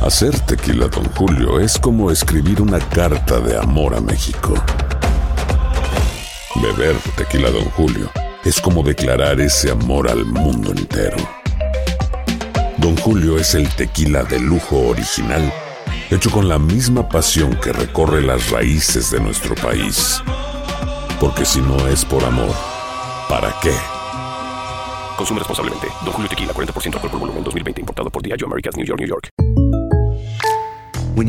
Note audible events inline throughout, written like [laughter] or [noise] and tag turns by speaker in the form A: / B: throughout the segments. A: Hacer tequila, Don Julio, es como escribir una carta de amor a México. Beber tequila, Don Julio, es como declarar ese amor al mundo entero. Don Julio es el tequila de lujo original, hecho con la misma pasión que recorre las raíces de nuestro país. Porque si no es por amor, ¿para qué?
B: Consume responsablemente. Don Julio Tequila, 40% alcohol por volumen, 2020. Importado por Diageo Americas, New York, New York.
C: When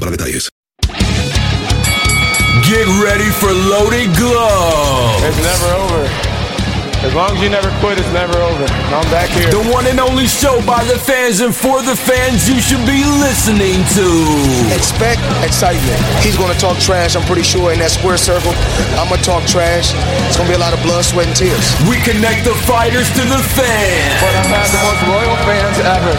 D: para detalles.
E: Get ready for Loaded Glove.
F: It's never over. As long as you never quit, it's never over. And I'm back here.
E: The one and only show by the fans and for the fans you should be listening to.
G: Expect excitement. He's going to talk trash, I'm pretty sure, in that square circle. I'm going to talk trash. It's going to be a lot of blood, sweat, and tears.
E: We connect the fighters to the fans.
F: But I've had the most loyal fans ever.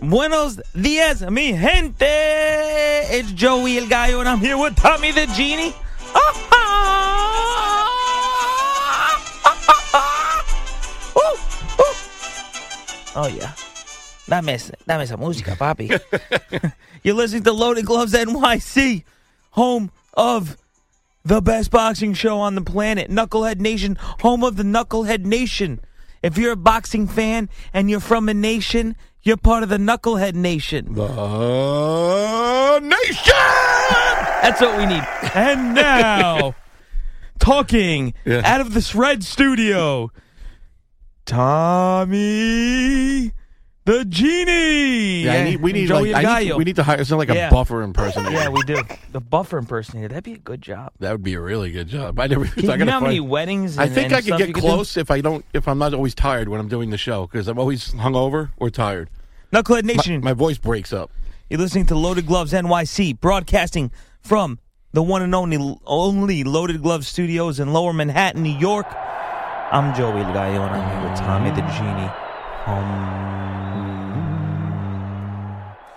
H: Buenos dias, mi gente. It's Joey El Gallo, and I'm here with Tommy the Genie. [laughs] Oh yeah, dame, esa- dame esa música, papi. You're listening to Loaded Gloves NYC, home of the best boxing show on the planet, Knucklehead Nation, home of the Knucklehead Nation. If you're a boxing fan and you're from a nation, you're part of the Knucklehead Nation.
I: The Nation!
H: That's what we need. And now, talking out of this red studio, Tommy the Genie.
I: Yeah, I need, we
H: and
I: need,
H: Joey
I: like, I need
H: Aguayo.
I: we need to hire sound like
H: Yeah.
I: a buffer impersonator.
H: Yeah, we do. The buffer impersonator. That'd be a good job.
I: that would be a really good job. I never. I
H: [laughs] You
I: gotta
H: know how many
I: find-
H: weddings?
I: I
H: and-
I: think
H: and
I: I could
H: stuff
I: get
H: you do?
I: close if I don't if I'm not always tired when I'm doing the show because I'm always hungover or tired.
H: Knucklehead
I: My,
H: Nation.
I: my voice breaks up.
H: You're listening to Loaded Gloves NYC, broadcasting from the one and only only Loaded Gloves Studios in Lower Manhattan, New York. I'm Joey Gallo, and I'm here with Tommy the Genie.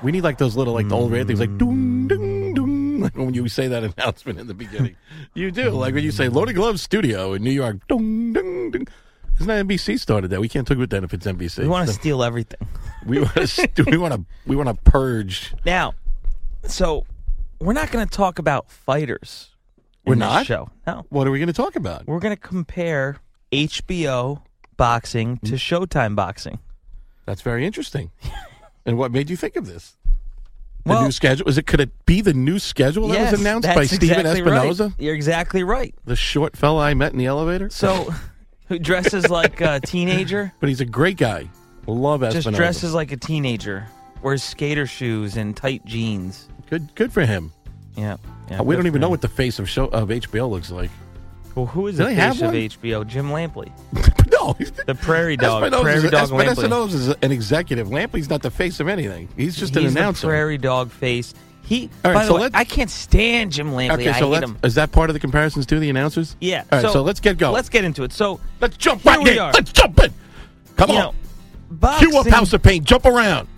I: We need like those little like the old radio things like doom doom doom like when you say that [laughs] announcement in the beginning. you do like when you say Loaded Gloves Studio in New York. Doom doom doom. Isn't that NBC started that? We can't talk about that if it's NBC.
H: We want to
I: So
H: steal everything.
I: we want to we want to we want to purge.
H: Now, so we're not going to talk about fighters. in
I: We're
H: this
I: not?
H: show. No,
I: What are we going to talk about?
H: we're going to compare HBO boxing to Showtime boxing.
I: That's very interesting. [laughs] and what made you think of this? The
H: Well-
I: new schedule is it? Could it be the new schedule that
H: Yes,
I: was announced by
H: that's
I: Steven
H: exactly right.
I: Espinoza,
H: You're exactly right.
I: the short fella I met in the elevator?
H: So, who dresses like a teenager?
I: [laughs] but he's a great guy. Love Espinoza.
H: just dresses like a teenager
J: wears skater shoes and tight jeans.
I: Good, good for him.
J: Yeah, yeah,
I: we
J: good
I: don't
J: for
I: even know
J: him.
I: what the face of show of HBO
J: [laughs]
I: looks like.
J: Well, who is
I: Do
J: the
I: they have
J: face of
I: one?
J: HBO? Jim Lampley.
I: no,
J: the Prairie Dog.
I: Espinosa
J: Prairie
I: is,
J: Dog
I: Espinosa
J: Lampley.
I: knows is an executive. Lampley's not the face of anything. He's just an
J: He's the
I: announcer.
J: Prairie Dog face. He.
I: All right,
J: by the
I: so
J: way,
I: let's-
J: I can't stand Jim Lampley.
I: Okay,
J: I
I: so
J: hate
I: let's,
J: him.
I: is that part of the comparisons to the announcers?
J: Yeah.
I: All right, so, let's get going.
J: Let's get into it. So
I: let's jump
J: here
I: right
J: we
I: in.
J: are.
I: Let's jump in. Come
J: You
I: on.
J: know,
I: Cue up
J: boxing-
I: House of Pain. Jump around.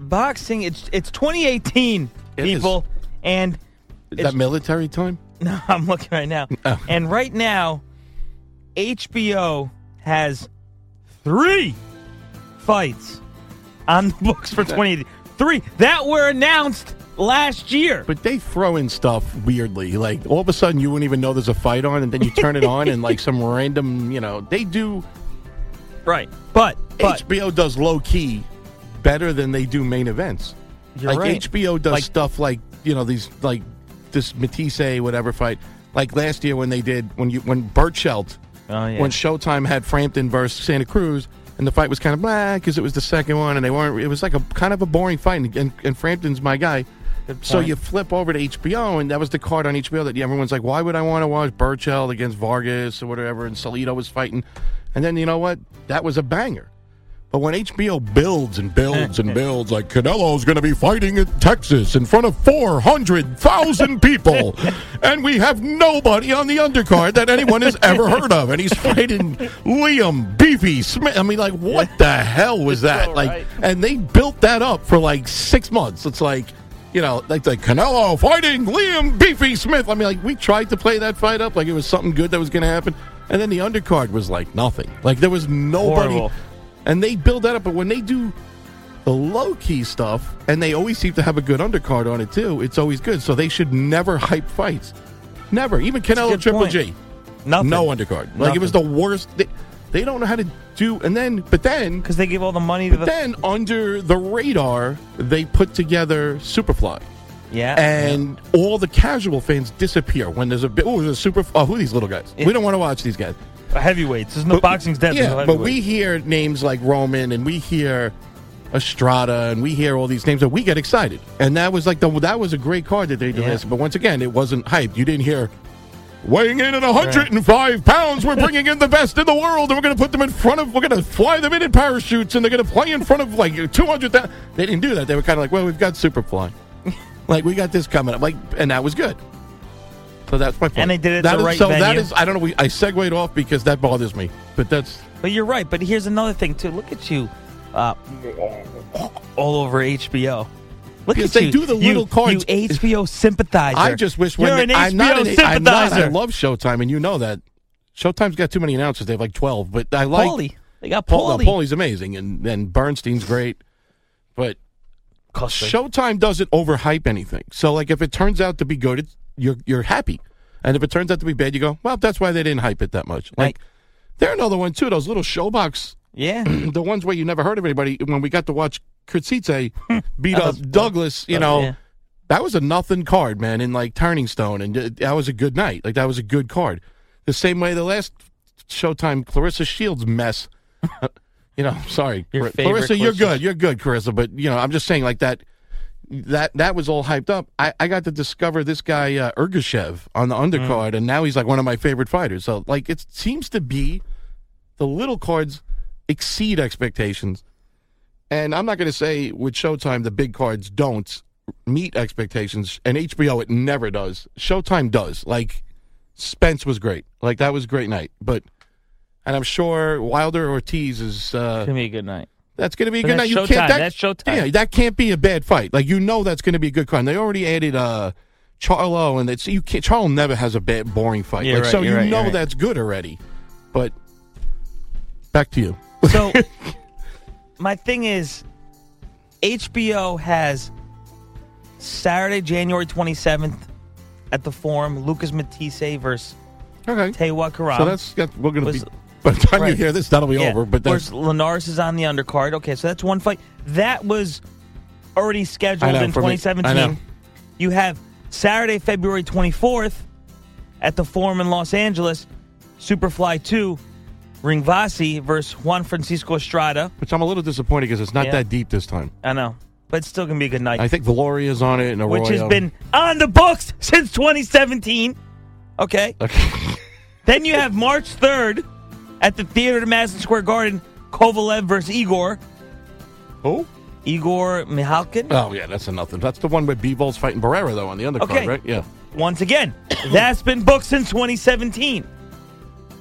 J: boxing. It's it's 2018, people, and
I: Is that military time?
J: [laughs] No, I'm looking right now.
I: Oh.
J: And right now, HBO has three fights on the books for 20. Three that were announced last year.
I: But they throw in stuff weirdly. Like all of a sudden, you wouldn't even know there's a fight on, and then you turn it on, and like some random, you know, they do.
J: Right, but, but
I: HBO does low key better than they do main events.
J: You're
I: like
J: right.
I: HBO does
J: Like-
I: stuff like you know these like this Matisse whatever fight. Like last year when they did when you when Bert Schelt
J: Oh, yeah.
I: when Showtime had Frampton versus Santa Cruz. And the fight was kind of blah because it was the second one, and they weren't. It was like a kind of a boring fight, and, and, and Frampton's my guy. So
J: point.
I: you flip over to HBO, and that was the card on HBO that everyone's like, "Why would I want to watch Burchell against Vargas or whatever?" And Salido was fighting, and then you know what? That was a banger. But when HBO builds and builds and builds, like Canelo's going to be fighting in Texas in front of four hundred thousand people, and we have nobody on the undercard that anyone has ever heard of, and he's fighting Liam Beefy Smith. I mean, like, what the hell was that? Like, and they built that up for like six months. It's like you know, like like Canelo fighting Liam Beefy Smith. I mean, like we tried to play that fight up like it was something good that was going to happen, and then the undercard was like nothing. Like there was nobody,
J: Horrible.
I: and they build that up. But when they do the low key stuff, and they always seem to have a good undercard on it too, it's always good. So they should never hype fights, never. Even Canelo
J: good
I: Triple
J: point.
I: G,
J: Nothing.
I: no undercard. Like it was the worst. They, they don't know how to do, and then but then
J: because they give all the money to the
I: then under the radar, they put together Superfly.
J: yeah
I: And all the casual fans disappear when there's a bit. Oh, there's a super. Oh, who are these little guys? We don't want to watch these guys.
J: yeah. heavyweights. There's no boxing's [laughs] dead.
I: Yeah, but we hear names like Roman and we hear Estrada and we hear all these names and we get excited. And that was like the that was a great card that they did. last- But once again, it wasn't hyped. You didn't hear weighing in at 105 pounds. We're bringing in the best in the world and we're going to put them in front of. We're going to fly them in in parachutes and they're going to play in front of like 200. They didn't do that. They were kind of like, well, we've got Superfly. like we got this coming up. Like, and that was good. So that's my point.
J: And they did it at
I: That
J: the
I: is-
J: right
I: So that
J: venue.
I: is, I don't know. We, I segued off because that bothers me. But that's
J: But you're right. But here's another thing too. Look at you, uh, all over HBO. Look
I: Because
J: at
I: they
J: you.
I: do the
J: you,
I: little cards.
J: You HBO sympathizer.
I: I just wish when
J: you're
I: they-
J: an HBO
I: I'm not an- I'm not-
J: sympathizer.
I: I love Showtime, and you know that. Showtime's got too many announcers. They have like twelve, but I like
J: Paulie. They got
I: Paul, no,
J: Paulie.
I: Paulie's amazing, and then Bernstein's great, but
J: Custer.
I: Showtime doesn't overhype anything. So like, if it turns out to be good, it's, you're you're happy, and if it turns out to be bad, you go, well, that's why they didn't hype it that much. Like, they're another one too. Those little showbox
J: yeah,
I: [clears throat] the ones where you never heard of anybody. When we got to watch
J: [laughs]
I: Kurtzite beat up Douglas, you know,
J: yeah.
I: that was a nothing card, man, in like Turning Stone, and uh, that was a good night. Like that was a good card. The same way the last Showtime Clarissa Shields mess. [laughs] you know, I'm sorry,
J: Your
I: Clar-
J: favorite
I: Clarissa, you're
J: Clarissa
I: good, you're good, Clarissa. But you know, I'm just saying, like that. That that was all hyped up. I, I got to discover this guy uh, Ergashev on the
J: Mm.
I: undercard, and now he's like one of my favorite fighters. So like it seems to be the little cards exceed expectations. And I'm not going to say with Showtime the big cards don't meet expectations, and HBO it never does. Showtime does. Like Spence was great. Like that was a great night. But and I'm sure Wilder Ortiz is
J: Give
I: uh,
J: me a good night.
I: that's going to be a
J: But
I: good
J: that's
I: night. You
J: Showtime.
I: can't. That,
J: That's Showtime.
I: Yeah, that can't be a bad fight. Like you know that's going to be a good card. And they already added uh Charlo, and it's you can't. Charlo never has a bad boring fight.
J: Yeah,
I: like,
J: right,
I: so
J: you're
I: you
J: right, you're
I: know
J: right.
I: that's good already. But back to you. [laughs]
J: So my thing is HBO has Saturday, January 27th at the Forum, Lucas Matisse versus
I: Okay.
J: Tewa Karam.
I: So that's that, we're going to
J: Was-
I: be. By the time you
J: right.
I: hear this, that'll be
J: Yeah.
I: over. But
J: Whereas
I: that's
J: Linares is on the undercard. Okay, so that's one fight. That was already scheduled
I: I know,
J: in
I: for me- I
J: 2017.
I: know.
J: You have Saturday, February 24th at the Forum in Los Angeles, Superfly 2, Ringvasi versus Juan Francisco Estrada.
I: which I'm a little disappointed because it's not
J: Yeah.
I: that deep this time.
J: I know. but it's still gonna be a good night.
I: I think Valoria's on it, and Arroyo.
J: which has been on the books since 2017. Okay. then you have March 3rd at the Theater at Madison Square Garden, Kovalev versus Igor.
I: [laughs] Who?
J: Igor Mihalkin.
I: Oh yeah, that's a nothing. That's the one where Bevol's fighting Barrera though on the undercard,
J: Okay.
I: right? Yeah.
J: Once again, that's been booked since 2017.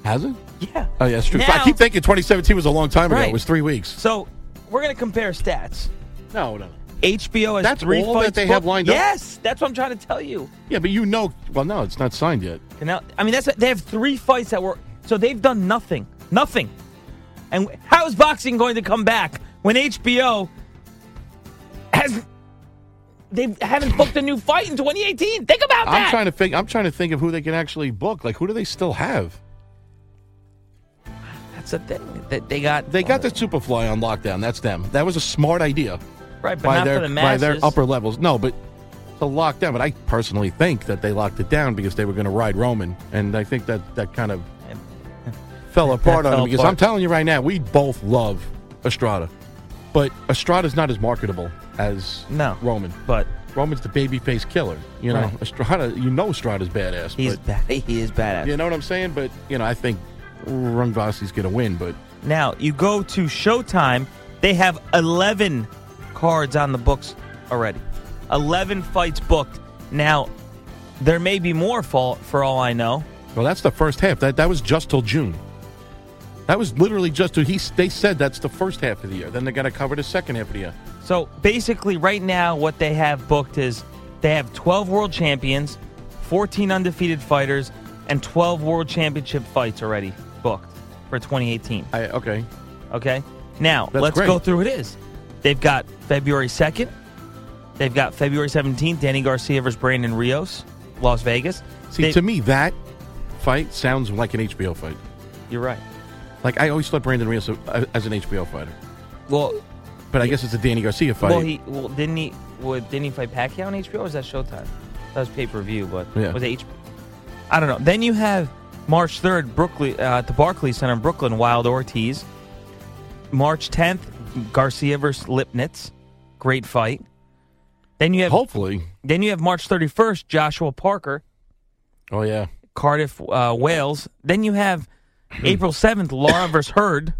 I: Has it?
J: Yeah.
I: Oh yeah, that's true.
J: Now-
I: I keep thinking 2017 was a long time ago.
J: Right.
I: It was three weeks.
J: So we're gonna compare stats.
I: No, no.
J: HBO has
I: That's
J: three
I: all that
J: fights
I: they have
J: booked.
I: lined up?
J: Yes, that's what I'm trying to tell you.
I: Yeah, but you know, well, no, it's not signed yet.
J: And now, I mean, that's they have three fights that were so they've done nothing, nothing. And how is boxing going to come back when HBO has they haven't booked a new fight in 2018? Think about that.
I: I'm trying to think. I'm trying to think of who they can actually book. Like, who do they still have?
J: that's the thing that they got.
I: They got the Superfly on lockdown. That's them. That was a smart idea.
J: Right, but
I: by
J: not
I: their
J: for the
I: by their
J: masses.
I: upper levels. No, but to lock down. But I personally think that they locked it down because they were going to ride Roman, and I think that
J: [laughs]
I: that kind of fell apart on
J: fell
I: him. Because
J: apart.
I: I'm telling you right now, we both love Estrada, but Estrada's not as marketable as
J: No,
I: Roman.
J: but
I: Roman's the babyface killer. You know,
J: Right.
I: Estrada. You know, Estrada's badass.
J: He's
I: but-
J: bad. He is badass.
I: You know what I'm saying? But you know, I think Rungvasi's going to win. But
J: Now you go to Showtime. They have eleven cards on the books already. Eleven fights booked. Now there may be more fall for all I know.
I: well, that's the first half. That that was just till June. That was literally just till he. They said that's the first half of the year. Then they got to cover the second half of the year.
J: So basically, right now, what they have booked is they have 12 world champions, 14 undefeated fighters, and 12 world championship fights already booked for 2018.
I: I, okay,
J: Okay. Now,
I: That's
J: let's
I: great.
J: go through it is. They've got February 2nd. They've got February 17th, Danny Garcia versus Brandon Rios, Las Vegas.
I: see
J: They-
I: to me that fight sounds like an HBO fight.
J: You're right.
I: Like I always thought Brandon Rios uh, as an HBO fighter,
J: Well,
I: but I guess it's a Danny Garcia fight.
J: well, he well didn't he well, didn't he fight Pacquiao on HBO or was that Showtime? That was pay per view, but
I: Yeah.
J: was it H- I don't know. Then you have March third, Brooklyn uh, at the Barclays Center in Brooklyn, Wild Ortiz. March tenth, Garcia versus Lipnitz, great fight. Then you have
I: Hopefully,
J: then you have March thirty first, Joshua Parker,
I: oh yeah,
J: Cardiff uh, Wales. Then you have
I: Hmm.
J: April seventh, Laura versus Hurd.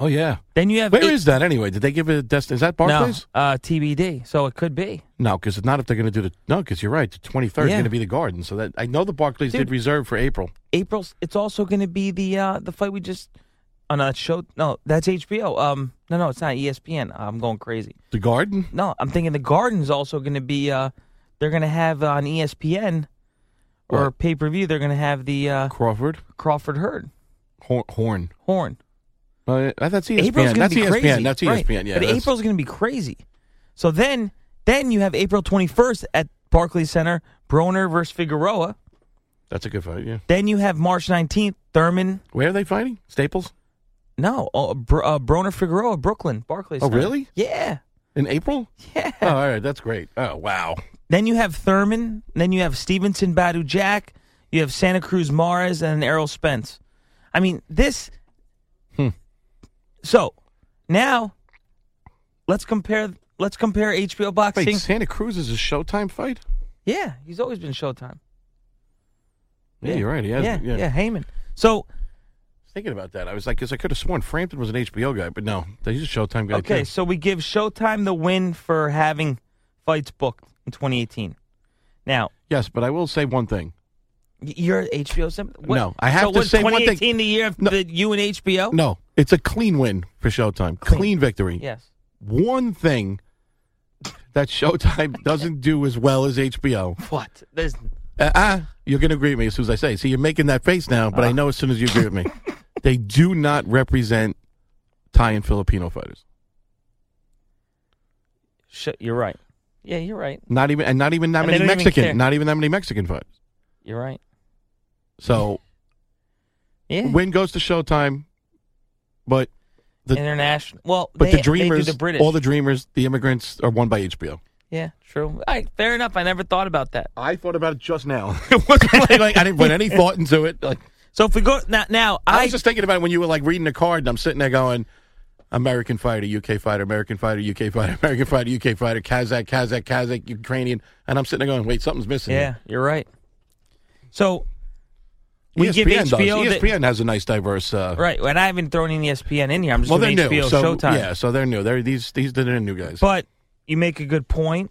I: oh yeah.
J: Then you have
I: Where is
J: eight-
I: that anyway? Did they give it a dest? Is that
J: no
I: Barclays?
J: uh, TBD, so it could be.
I: No, because it's not if they're going to do the no. Because you're right, the 23rd is
J: Yeah.
I: going to be the Garden. So that I know the Barclays
J: Dude.
I: did reserve for April.
J: April's. It's also going to be the uh the fight we just on that show. No, that's HBO. Um, no, no, it's not ESPN. I'm going crazy.
I: The Garden.
J: No, I'm thinking the Garden's also going to be. uh They're going to have uh, on E ESPN or
I: What?
J: pay per view. They're going to have the uh
I: Crawford
J: Crawford Heard
I: Hor- Horn.
J: Horn.
I: Uh, that's ESPN.
J: April's going
I: that's E
J: to be
I: ESPN.
J: crazy.
I: That's
J: Right.
I: ESPN. Yeah,
J: but
I: that's-
J: April's going to be crazy. So then, then you have April 21st at Barclays Center, Broner versus Figueroa.
I: That's a good fight. Yeah.
J: Then you have March 19th, Thurman.
I: Where are they fighting? Staples
J: No, oh, Br- uh, Broner Figueroa, Brooklyn, Barclays.
I: Oh,
J: Center.
I: really?
J: Yeah.
I: in April.
J: Yeah.
I: Oh, all right. That's great. Oh, wow.
J: Then you have Thurman. Then you have Stevenson Badu Jack. You have Santa Cruz Mars and Errol Spence. I mean, this.
I: Hmm.
J: So now let's compare. Let's compare HBO boxing.
I: Wait, Santa Cruz is a Showtime fight.
J: Yeah, he's always been Showtime.
I: Yeah, you're right. He has.
J: yeah,
I: yeah.
J: yeah, Heyman. So
I: Thinking about that, I was like, because I could have sworn Frampton was an HBO guy, but no, he's a Showtime guy.
J: Okay,
I: too.
J: so we give Showtime the win for having fights booked in 2018. Now
I: Yes, but I will say one thing.
J: y- you're HBO. Sim- what-
I: No, I have
J: so
I: to
J: was
I: say one thing.
J: 2018 the year of
I: No.
J: the, you and HBO.
I: No, it's a clean win for Showtime. Clean,
J: Oh. Clean.
I: victory.
J: Yes.
I: one thing that Showtime [laughs] doesn't do as well as HBO.
J: What? There's
I: Uh, uh, you're going to agree with me as soon as I say. it. See, you're making that face now,
J: Uh-huh.
I: but I know as soon as you agree with me, they do not represent Thai and Filipino fighters.
J: sh- you're right. Yeah, you're right.
I: Not even, and not even that
J: And they
I: many
J: don't even care.
I: Mexican. Not even that many Mexican fighters.
J: You're right.
I: So
J: Yeah.
I: win goes to Showtime, but the-
J: International. Well,
I: but
J: they-
I: the dreamers,
J: they do the British.
I: all the dreamers, the immigrants are won by HBO.
J: yeah, true. All right, fair enough. I never thought about
I: [laughs]
J: that.
I: I thought about it just now. it wasn't
J: [laughs]
I: [laughs] like, like I didn't put any thought into it. Like
J: So if we go now, now
I: I,
J: I,
I: was just thinking about it when you were like reading the card, and I'm sitting there going, American fighter, UK fighter, American fighter, UK fighter, [laughs] American fighter, UK fighter, Kazakh, Kazakh, Kazakh, Ukrainian. And I'm sitting there going, wait, something's missing.
J: Yeah, you're right. So we
I: ESPN
J: give
I: does. E
J: HBO the-
I: ESPN has a nice diverse. Uh,
J: Right, and I haven't thrown any E ESPN in here. I'm just
I: Well, they're
J: doing
I: new.
J: HBO
I: so,
J: Showtime.
I: Yeah, so they're new. They're these these they're the new guys.
J: But you make a good point.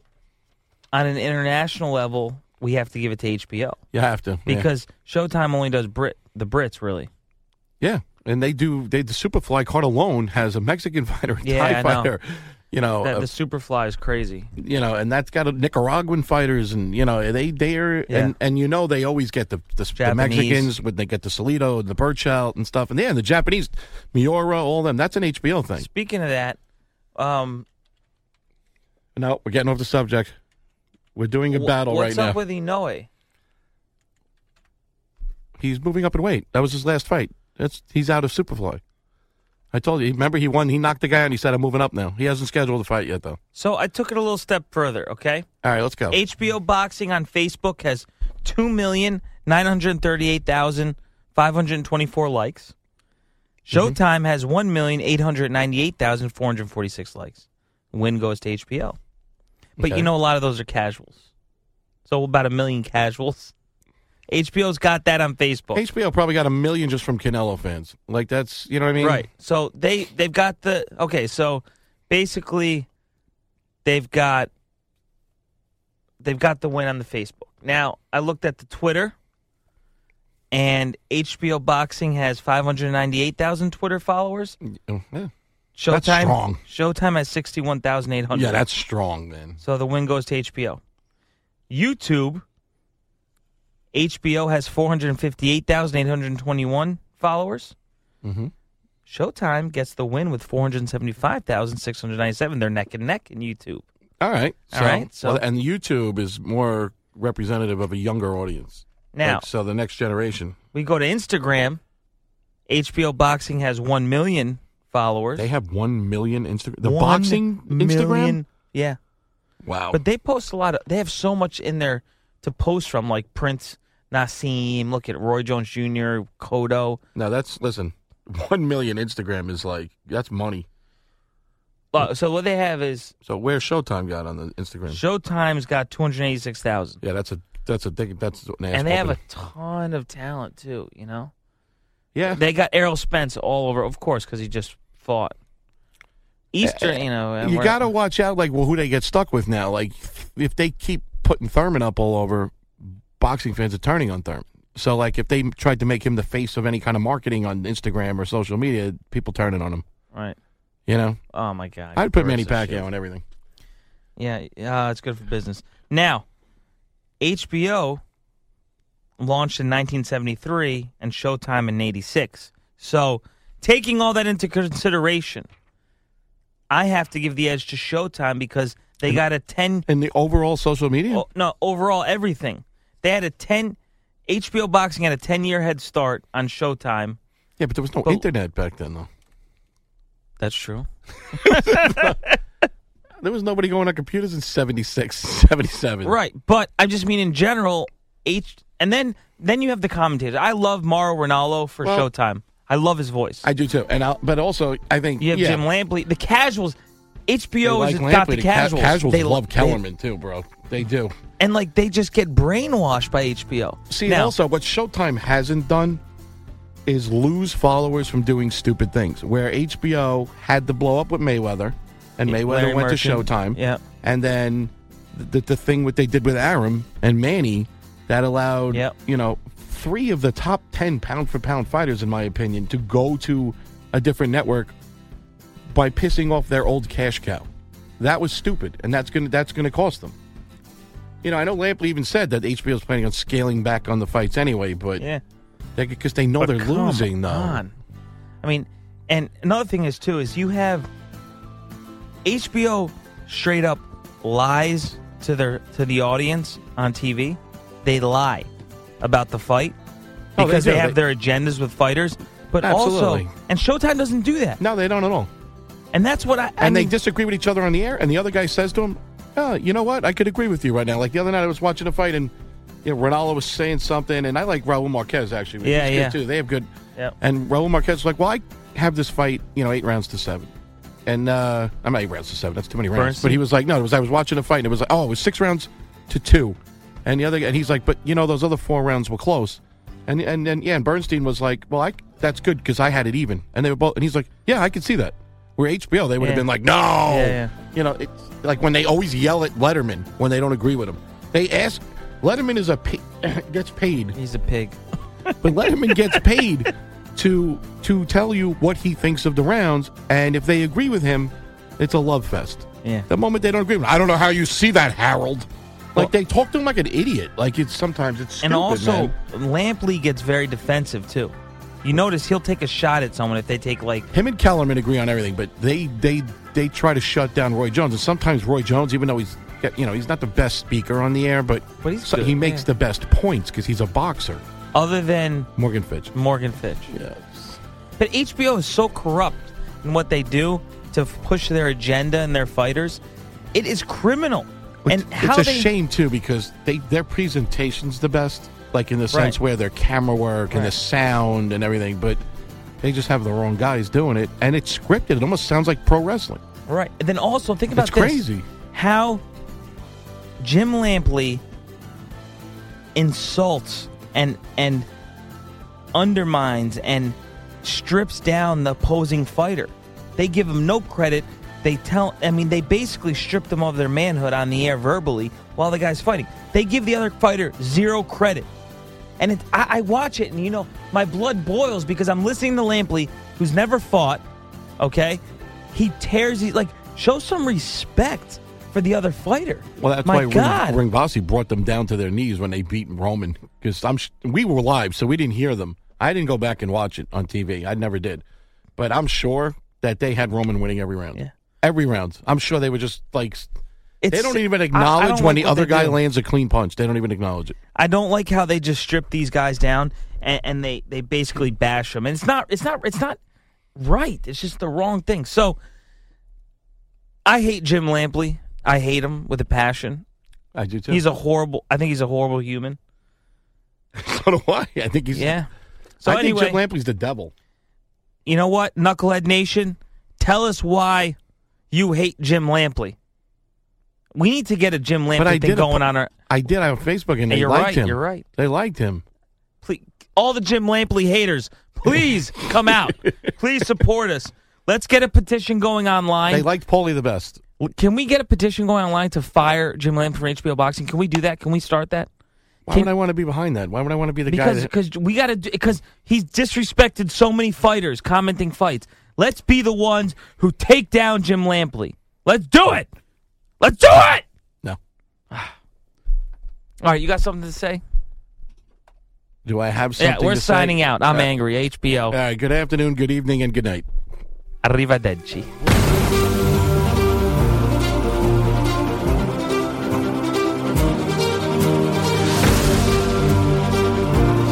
J: On an international level, we have to give it to HBO
I: you have to yeah.
J: because Showtime only does Brit the Brits really.
I: yeah, and they do. They the Superfly card alone has a Mexican [laughs] fighter, a
J: Yeah,
I: Thai
J: I know.
I: fighter. You know,
J: That-
I: uh,
J: the Superfly is crazy.
I: you know, and that's got a Nicaraguan fighters, and you know they they're
J: Yeah.
I: and and you know they always get the the, the
J: Japanese.
I: Mexicans when they get the Salido and the Burchelt and stuff, and yeah, the Japanese Miura, all them. That's an HBO thing.
J: Speaking of that, um,
I: No, we're getting off the subject. We're doing a
J: wh-
I: battle right
J: what's
I: now.
J: up with Inoue?
I: he's moving up in weight. That was his last fight. That's he's out of Superfly. I told you. Remember, he won. He knocked the guy, out and he said, "I'm moving up now." He hasn't scheduled a fight yet, though.
J: So I took it a little step further. Okay,
I: All right, let's go.
J: HBO Boxing on Facebook has two million nine hundred thirty-eight thousand five hundred twenty-four likes.
I: Mm-hmm.
J: Showtime has one million eight hundred ninety-eight thousand four hundred forty-six likes. Win goes to HBO, but
I: Okay.
J: you know a lot of those are casuals. So about a million casuals. HBO's got that on Facebook,
I: HBO probably got a million just from Canelo fans. Like that's you know what I mean,
J: right? So they they've got the okay. So basically, they've got they've got the win on the Facebook. Now I looked at the Twitter, and HBO Boxing has five hundred ninety eight thousand Twitter followers.
I: Oh, Yeah.
J: Showtime
I: That's strong.
J: Showtime has sixty one thousand eight hundred.
I: Yeah, that's strong, man.
J: so the win goes to HBO. YouTube, HBO has four hundred fifty eight thousand eight hundred twenty one followers.
I: Mhm.
J: Showtime gets the win with 475,697. They're neck and neck in YouTube.
I: All right,
J: All right, so-
I: well, and YouTube is more representative of a younger audience.
J: Now-
I: Like, so the next generation,
J: We go to Instagram. HBO Boxing has 1 million followers.
I: they have one million Instagram. The
J: One
I: boxing Instagram.
J: million- Yeah.
I: Wow.
J: But they post a lot of, they have so much in there to post from, like Prince, Nassim, look at Roy Jones Jr., Kodo.
I: now that's listen. [laughs] One million Instagram is like that's money.
J: Uh, So what they have is
I: So where Showtime got on the Instagram?
J: Showtime's got 286,000.
I: Yeah, that's a that's a dig- that's an ass
J: And they have a
I: whooping.
J: ton of talent, too, you know?
I: yeah.
J: They got Errol Spence all over, of course, because he just fought. Easter, you know. and
I: you
J: we're-
I: got to watch out, like well, who they get stuck with now. Like if they keep putting Thurman up all over, boxing fans are turning on Thurman. So like if they tried to make him the face of any kind of marketing on Instagram or social media, people turning on him.
J: Right.
I: You know,
J: Oh, my God.
I: I'd put
J: Burris
I: Manny
J: is
I: Pacquiao
J: shit.
I: on everything.
J: Yeah, uh, it's good for business. Now, HBO launched in 1973 and Showtime in 86. So, taking all that into consideration, I have to give the edge to Showtime because they got a 10
I: And the overall social media,
J: oh, no, overall everything. They had a 10 HBO Boxing had a 10-year head start on Showtime.
I: yeah, but there was no
J: but-
I: internet back then though.
J: That's true.
I: There was nobody going on computers in 76, [laughs] 77.
J: Right, but I just mean in general. H and then then you have the commentator. I love Mauro Ronaldo for
I: Well-
J: Showtime. I love his voice.
I: I do too, and I'll, but also I think
J: you have
I: yeah,
J: Jim Lampley. The casuals.
I: they
J: HBO
I: like
J: has got
I: Lampley.
J: the
I: Ca-
J: casuals.
I: Casuals
J: They
I: love
J: they-
I: Kellerman too, bro. They do.
J: and like they just get brainwashed by HBO.
I: See,
J: now,
I: also, what Showtime hasn't done is lose followers from doing stupid things. Where HBO had the blow up with Mayweather, and
J: Yeah,
I: Mayweather
J: Larry
I: went
J: Merchant.
I: to Showtime.
J: Yeah.
I: And then the, the thing what they did with Aram and Manny that allowed,
J: Yep.
I: you know, three of the top 10 pound for pound fighters, in my opinion, to go to a different network by pissing off their old cash cow. That was stupid, and that's gonna that's gonna cost them. You know, I know Lampley even said that HBO is planning on scaling back on the fights anyway, but
J: yeah,
I: because they know
J: But
I: they're
J: come
I: losing though.
J: on. I mean, and another thing is too is you have HBO straight up lies to their to the audience on TV. They lie about the fight
I: Oh, they
J: because
I: do.
J: they, have
I: They-
J: their agendas with fighters, but
I: Absolutely.
J: also and Showtime doesn't do that.
I: No, they don't at all.
J: And that's what I, I
I: and
J: mean,
I: they disagree with each other on the air, and the other guy says to him, oh, you know what? I could agree with you right now. Like the other night I was watching a fight and you know, Ronaldo was saying something, and I like Raul Marquez actually.
J: Yeah,
I: He's
J: yeah.
I: Good too. They have good.
J: Yep.
I: And Raul Marquez was like, well, I have this fight, you know, eight rounds to seven. And uh, I'm not even rounds to seven. That's too many rounds. But he was like, no, it was I was watching a fight, and it was like, oh, it was six rounds to two, and the other, and he's like, but you know, those other four rounds were close, and and then yeah, and Bernstein was like, well, I that's good because I had it even, and they were both, and he's like, yeah, I could see that. Where HBO, they would
K: Yeah.
I: have been like, no,
K: Yeah, yeah.
I: you know, it's like when they always yell at Letterman when they don't agree with him. They ask Letterman is a pi- [coughs] gets paid.
J: He's a
I: [laughs]
J: pig,
I: but Letterman gets paid to to tell you what he thinks of the rounds, and if they agree with him, it's a love fest.
J: Yeah.
I: The moment they don't agree with him, I don't know how you see that, Harold. Like they talk to him like an idiot. Like it's sometimes it's
J: and
I: stupid,
J: also
I: man.
J: Lampley gets very defensive too. You notice he'll take a shot at someone if they take like
I: him and Kellerman agree on everything, but they they they try to shut down Roy Jones, and sometimes Roy Jones, even though he's got- you know he's not the best speaker on the air, but,
J: But he's
I: so-
J: good,
I: he makes
J: yeah.
I: the best points because he's a boxer.
J: other than
I: Morgan Fitch.
J: Morgan Fitch. Yes. But HBO is so corrupt in what they do to f- push their agenda and their fighters. It is criminal. and how
I: it's a
J: they
I: shame too because they their presentation's the best, like in the sense
J: Right.
I: where their camera work and the
J: Right.
I: sound and everything, but they just have the wrong guys doing it, and it's scripted. It almost sounds like pro wrestling.
J: Right. And then also think about
I: It's
J: this.
I: crazy.
J: How Jim Lampley insults and and undermines and strips down the opposing fighter. They give him no credit. They tell I mean they basically strip them of their manhood on the air verbally while the guy's fighting. They give the other fighter zero credit. And it, I, I watch it and you know my blood boils because I'm listening to Lampley who's never fought, okay? He tears these like show some respect for the other fighter.
I: Well, that's
J: my
I: why
J: God.
I: Ring, Ringvasi brought them down to their knees when they beat Roman because I'm sh- we were live, so we didn't hear them. I didn't go back and watch it on TV. I never did, but I'm sure that they had Roman winning every round. Yeah. Every round, I'm sure they were just like s- they
J: It's-
I: don't even
J: I- I
I: acknowledge
J: don't
I: when
J: like
I: the
J: what
I: other
J: they
I: guy
J: do.
I: lands a clean punch. They don't even acknowledge it.
J: I don't like how they just strip these guys down and, and they they basically bash them. And it's not it's not it's not right. It's just the wrong thing. So I hate Jim Lampley. I hate him with a passion.
I: I do too.
J: He's a horrible. I think he's a horrible human.
I: [laughs] so do I. I think he's
J: yeah. So
I: I
J: anyway,
I: think Jim Lampley's the devil.
J: you know what, Knucklehead Nation, tell us why you hate Jim Lampley. We need to get a Jim
I: but I
J: Lampley
I: did
J: thing
I: a-
J: going on our
I: I did on Facebook, and
J: Hey,
I: they
J: you're
I: liked
J: right,
I: him.
J: you're right.
I: They liked him.
J: please, all the Jim Lampley haters, please come out. please support us. Let's get a petition going online.
I: They liked Paulie the best.
J: Can we get a petition going online to fire Jim Lampley from HBO Boxing? Can we do that? Can we start that?
I: Why would I want to be behind that? Why would I want to be the guy?
J: Because
I: that-
J: because we got to because he's disrespected so many fighters commenting fights. Let's be the ones who take down Jim Lampley. Let's do it. Let's do it.
I: No.
J: All right, you got something to say?
I: Do I have something?
J: yeah, we're
I: to say?
J: signing out. I'm
I: Uh,
J: angry. HBO.
I: All right. Good afternoon. Good evening. And good night.
J: Arrivederci.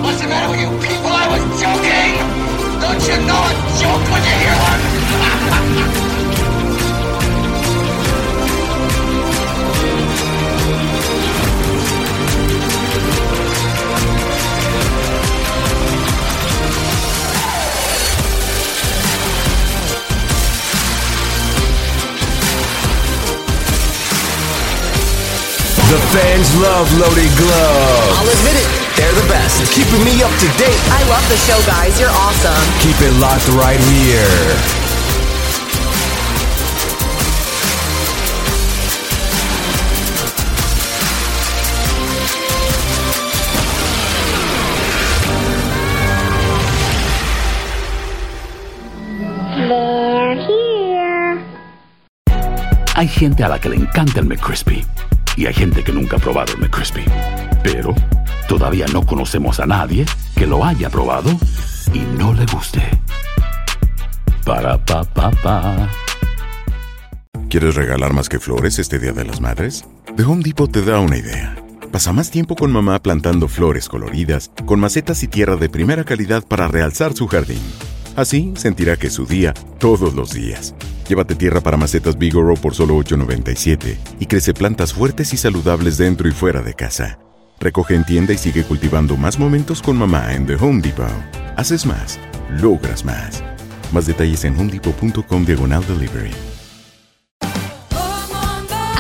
L: What's the matter with you people? I was joking! Don't you know a joke when you hear one?
E: The fans love Loaded Glove.
M: I'll admit it, they're the best. Keeping me up to date. I love the show, guys. You're awesome.
E: Keep it locked right here.
N: Hay gente a la que le encanta el McCrispy y hay gente que nunca ha probado el McCrispy. Pero todavía no conocemos a nadie que lo haya probado y no le guste. Para pa pa pa.
O: ¿Quieres regalar más que flores este Día de las Madres? The Home Depot te da una idea. Pasa más tiempo con mamá plantando flores coloridas, con macetas y tierra de primera calidad para realzar su jardín. Así sentirá que es su día todos los días. Llévate tierra para macetas Bigoro por solo $8.97 y crece plantas fuertes y saludables dentro y fuera de casa. Recoge en tienda y sigue cultivando más momentos con mamá en The Home Depot. Haces más, logras más. Más detalles en homedepot.com diagonal delivery.